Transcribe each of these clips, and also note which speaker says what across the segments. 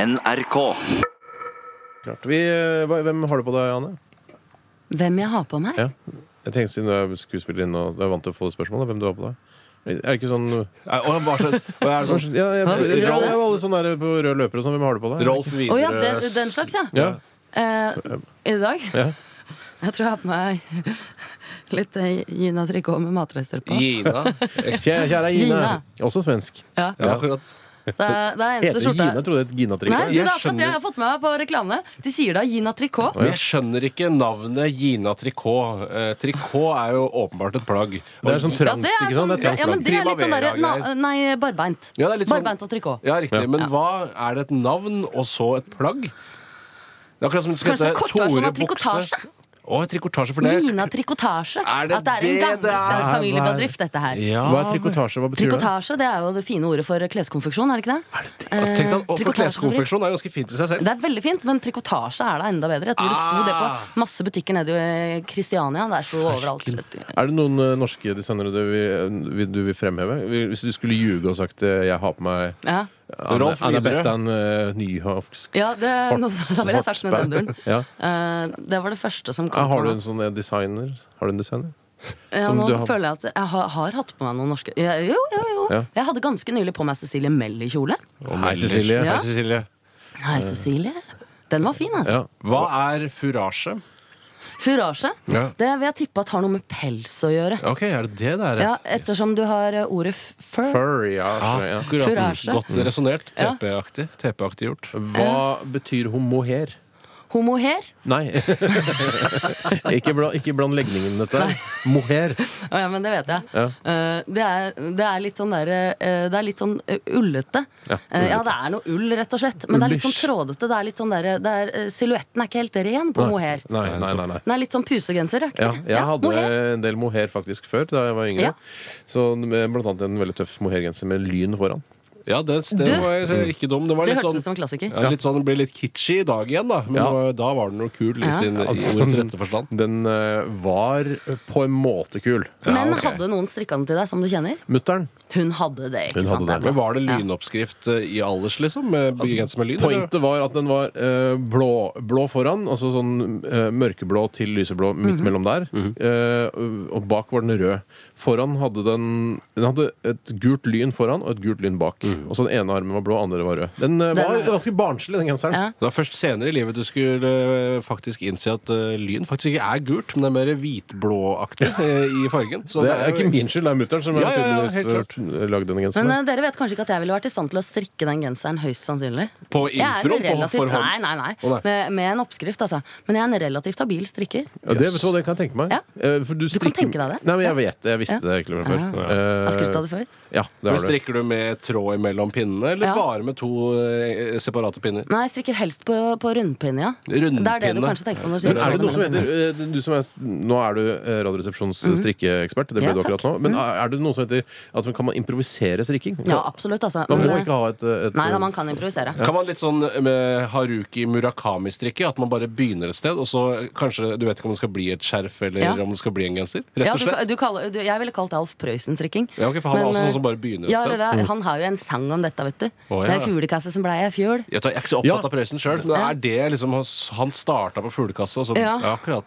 Speaker 1: NRK.
Speaker 2: Klart. Vi, eh, hva- hvem har du på deg, Anne?
Speaker 3: Hvem jeg har på meg?
Speaker 2: Ja. Jeg tenkte Siden du er skuespillerinne og du er vant til å få det spørsmålet, hvem du har på deg? Er det ikke sånn
Speaker 4: Nei, Og hva slags og er det sånn
Speaker 2: ja, jeg,
Speaker 3: Hva,
Speaker 2: jeg, jeg,
Speaker 3: Rolf?
Speaker 2: Alle sånne der på rød løper og sånn, hvem har du på deg?
Speaker 4: Rolf
Speaker 3: Å
Speaker 4: Widerøes
Speaker 3: ja, den, den slags, ja.
Speaker 2: Ja.
Speaker 3: Eh, I dag?
Speaker 2: Ja.
Speaker 3: Jeg tror jeg har på meg litt eh, Gina Tricot med matrester på.
Speaker 4: Gina.
Speaker 2: Kjære, kjære Gine.
Speaker 3: Gina.
Speaker 2: Også svensk.
Speaker 3: Ja,
Speaker 4: Ja, akkurat.
Speaker 3: det er, det er
Speaker 2: Heter
Speaker 3: eneste
Speaker 2: det Gina?
Speaker 3: skjorta.
Speaker 2: Jeg trodde det het Gina-trikk.
Speaker 3: Nei,
Speaker 4: Jeg
Speaker 3: det er akkurat det jeg
Speaker 4: skjønner.
Speaker 3: har fått med meg på reklamene. De sier da Gina Tricot.
Speaker 4: Men jeg skjønner ikke navnet Gina Tricot. Eh, Tricot er jo åpenbart et plagg.
Speaker 2: Det er sånn
Speaker 3: Ja,
Speaker 2: trangt,
Speaker 3: det er,
Speaker 2: ikke
Speaker 3: sånn,
Speaker 2: sant? Det er trangt
Speaker 3: ja, men
Speaker 2: plagg.
Speaker 3: det er litt sånn derre na-
Speaker 4: Primavera-greier.
Speaker 3: Nei, barbeint.
Speaker 4: Ja, det er litt sånn-
Speaker 3: Barbeint og trikot.
Speaker 4: Ja, riktig. Men
Speaker 3: Ja.
Speaker 4: hva er det et navn og så et plagg? Det er akkurat som det skal
Speaker 3: Kanskje
Speaker 4: hete
Speaker 3: kortversjonen
Speaker 4: Tore
Speaker 3: av
Speaker 4: Bukse.
Speaker 3: trikotasje?
Speaker 4: Å, trikotasje for det.
Speaker 3: Gina Trikotasje.
Speaker 4: Er det
Speaker 3: At det er en
Speaker 4: det
Speaker 3: gammel
Speaker 4: det er?
Speaker 3: svensk familiebedrift, dette her.
Speaker 4: Ja,
Speaker 2: Hva er trikotasje? Hva betyr det?
Speaker 3: Trikotasje det er jo det fine ordet for kleskonfeksjon, er det ikke det?
Speaker 4: Er det det? Tenk deg, også
Speaker 3: eh, trikotasje-
Speaker 4: kleskonfeksjon er ganske fint i seg selv.
Speaker 3: Det er veldig fint, men trikotasje er da enda bedre. Jeg tror det sto det
Speaker 4: Ah.
Speaker 3: på masse butikker nede i eh, Kristiania. Der sto det overalt.
Speaker 2: Er det noen eh, norske designere du vil, eh, vil- du vil fremheve? Hvis du skulle ljuge og sagt eh, 'jeg har på meg
Speaker 3: Ja,
Speaker 2: Anne,
Speaker 4: Rolf
Speaker 2: Anne
Speaker 4: Widerøe.
Speaker 2: Bettan uh, Nyhavsk
Speaker 3: ja det, nå, da ville jeg sagt med den duren.
Speaker 2: Ja.
Speaker 3: Eh, det var det første som
Speaker 2: Ja,
Speaker 3: kom
Speaker 2: Har du
Speaker 3: på
Speaker 2: en
Speaker 3: meg.
Speaker 2: sånn eh, designer? Har du en designer?
Speaker 3: Ja,
Speaker 2: som
Speaker 3: nå
Speaker 2: du har-
Speaker 3: føler jeg at jeg har, har hatt på meg noen norske ja, Jo, jo, jo.
Speaker 2: Ja.
Speaker 3: Jeg hadde ganske nylig på meg Cecilie Mell i kjole.
Speaker 2: Hei, Cecilie.
Speaker 3: Ja.
Speaker 4: Hei, Cecilie.
Speaker 3: Hei, Cecilie. Den var fin, altså.
Speaker 2: Eh. Ja.
Speaker 4: Hva er furasje?
Speaker 3: Furasje.
Speaker 4: Ja.
Speaker 3: Det vil jeg tippe at har noe med pels å gjøre.
Speaker 4: Ok, er det det det er?
Speaker 3: Ja, ettersom du har eh, ordet f- fur.
Speaker 2: Fur, ja.
Speaker 4: Ah,
Speaker 2: skjønner jeg, ja.
Speaker 4: akkurat.
Speaker 3: Furasje.
Speaker 4: Godt resonnert.
Speaker 3: Ja.
Speaker 4: TP-aktig. TP-aktig gjort.
Speaker 2: Hva betyr homoher?
Speaker 3: Homoher.
Speaker 2: Nei. ikke, bland, ikke bland legningen, dette. her. Mohair.
Speaker 3: Å ja, men det vet jeg.
Speaker 2: Ja.
Speaker 3: Eh, det, er, det er litt sånn der, eh, Det er litt sånn eh, ullete.
Speaker 2: Ja,
Speaker 3: Eh, ja, det er noe ull, rett og slett. Men det er litt sånn
Speaker 2: Ullish.
Speaker 3: trådete. Det er litt sånn der, det er, eh, silhuetten er ikke helt ren på mohair.
Speaker 2: Nei, nei, nei, nei.
Speaker 3: Den er litt sånn pusegenseraktig.
Speaker 2: Ja, jeg hadde
Speaker 3: mohair.
Speaker 2: en del mohair faktisk før, da jeg var
Speaker 3: Ja.
Speaker 2: yngre. Så med blant annet en veldig tøff mohairgenser med lyn foran.
Speaker 4: Ja, det, det
Speaker 3: Du-
Speaker 4: var eh, ikke dum. Det var
Speaker 3: Det
Speaker 4: litt
Speaker 3: hørtes
Speaker 4: sånn
Speaker 3: ut som en klassiker.
Speaker 4: Ja, litt sånn, det blir litt kitschy i dag igjen, da. Men
Speaker 2: Ja.
Speaker 4: det var- da var den jo kul i
Speaker 3: Ja.
Speaker 4: sin i ordets rette forstand.
Speaker 2: Den eh, var på en måte kul.
Speaker 3: Men
Speaker 4: ok.
Speaker 3: hadde noen strikka den til deg, som du kjenner?
Speaker 2: Mutter'n.
Speaker 3: Hun hadde det. ikke
Speaker 2: Hun
Speaker 3: sant?
Speaker 2: hadde det.
Speaker 3: er
Speaker 4: Men
Speaker 3: bra.
Speaker 4: var det lynoppskrift eh, i alders, liksom? Med Genser med lyd? eller?
Speaker 2: Altså, Pointet var at den var eh, blå, blå foran, altså sånn eh, mørkeblå til lyseblå midt mellom der. Eh, og bak var den rød. Foran hadde den Den hadde et gult lyn foran og et gult lyn bak. Og så den ene armen var blå, den andre var rød. Den eh, var ganske barnslig, den genseren.
Speaker 3: Ja.
Speaker 4: Det var først senere i livet du skulle eh, faktisk innse at eh, lyn faktisk ikke er gult, men det er mer hvitblåaktig eh, i fargen. Så
Speaker 2: Det er
Speaker 4: jo-
Speaker 2: ikke min skyld, det er mutter'n som
Speaker 4: Ja,
Speaker 2: har
Speaker 4: ja, ja, helt
Speaker 2: tydeligvis eh, lagd denne
Speaker 3: Men
Speaker 2: genseren.
Speaker 3: eh, dere vet kanskje ikke at jeg ville vært i stand til å strikke den genseren høyst sannsynlig.
Speaker 4: På
Speaker 3: Jeg er en
Speaker 4: impro? På
Speaker 3: relativt,
Speaker 4: forhånd?
Speaker 3: nei, nei, nei.
Speaker 4: Å, nei.
Speaker 3: Med, med en oppskrift, altså. Men jeg er en relativt habil strikker.
Speaker 2: ja, det, vet du, hva, det kan jeg tenke meg.
Speaker 3: Ja.
Speaker 2: Eh, for du,
Speaker 3: kan
Speaker 2: strikker-
Speaker 3: tenke deg det.
Speaker 2: Nei, men jeg vet det. Jeg visste det egentlig fra før.
Speaker 4: Ja.
Speaker 3: Jeg skulle ta
Speaker 2: Eh,
Speaker 3: det før.
Speaker 2: ja, det
Speaker 4: Men
Speaker 2: har du.
Speaker 4: Strikker du med tråd imellom pinnene, eller
Speaker 3: Ja.
Speaker 4: bare med to eh, separate pinner?
Speaker 3: Nei, jeg strikker helst på, på rundpinne, ja.
Speaker 4: Rundpinne.
Speaker 3: Det er det du kanskje tenker på når du
Speaker 2: Men
Speaker 3: sier
Speaker 2: er det noe som
Speaker 3: rundpinne.
Speaker 2: heter eh, du som er, Nå er du eh, Radioresepsjons eh, strikkeekspert. Det ble
Speaker 3: Mhm. Ja,
Speaker 2: du akkurat nå.
Speaker 3: takk. Mhm.
Speaker 2: Men er er det noe som heter at man kan man improvisere strikking?
Speaker 3: Ja, absolutt, altså.
Speaker 2: Man
Speaker 3: Men
Speaker 2: må
Speaker 3: det-
Speaker 2: ikke ha et, eh, et
Speaker 3: Nei da, man kan improvisere.
Speaker 4: Kan man litt sånn med Haruki Murakami-strikke? At man bare begynner et sted, og så kanskje du vet ikke om det skal bli et skjerf eller
Speaker 3: Ja.
Speaker 4: om det skal bli en genser? Rett
Speaker 3: Ja,
Speaker 4: og
Speaker 3: du,
Speaker 4: slett.
Speaker 3: du kaller, du, jeg ville kalt det Alf Prøysen-strikking.
Speaker 4: Ja, ok, for han er
Speaker 3: Men,
Speaker 4: også
Speaker 3: eh,
Speaker 4: sånn som bare begynner et
Speaker 3: Ja,
Speaker 4: sted.
Speaker 3: det er- han har jo en sang om dette, vet du.
Speaker 4: Å,
Speaker 3: Det
Speaker 4: ja.
Speaker 3: er en fuglekasse som blei ei fjøl.
Speaker 4: Jeg tar- jeg er ikke så
Speaker 2: Ja.
Speaker 4: opptatt av Prøysen sjøl, men er det liksom Han starta på fuglekasse, og så
Speaker 3: Ja.
Speaker 4: ja, akkurat.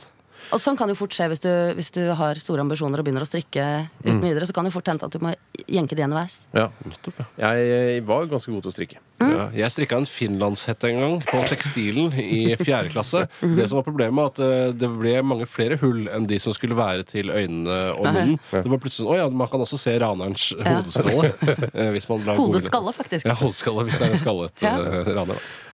Speaker 3: Og sånn kan jo fort skje hvis du, hvis du har store ambisjoner og begynner å strikke
Speaker 4: Mm.
Speaker 3: uten videre. Så kan det fort hende at du må jenke det underveis.
Speaker 2: Ja. Jeg, eh, var ganske god til å strikke.
Speaker 3: Mm.
Speaker 4: Ja, jeg strikka en finlandshette en gang på tekstilen i fjerde klasse.
Speaker 3: Mhm.
Speaker 4: Det som var problemet, var at eh, det ble mange flere hull enn de som skulle være til øynene og munnen. Det var plutselig sånn, «Å ja, Man kan også se ranerens hodeskalle. eh, hvis man lar
Speaker 3: Hodeskalle, faktisk.
Speaker 4: Ja, hodeskalle hvis det er en skallet
Speaker 3: Ja.
Speaker 4: eh, raner. da.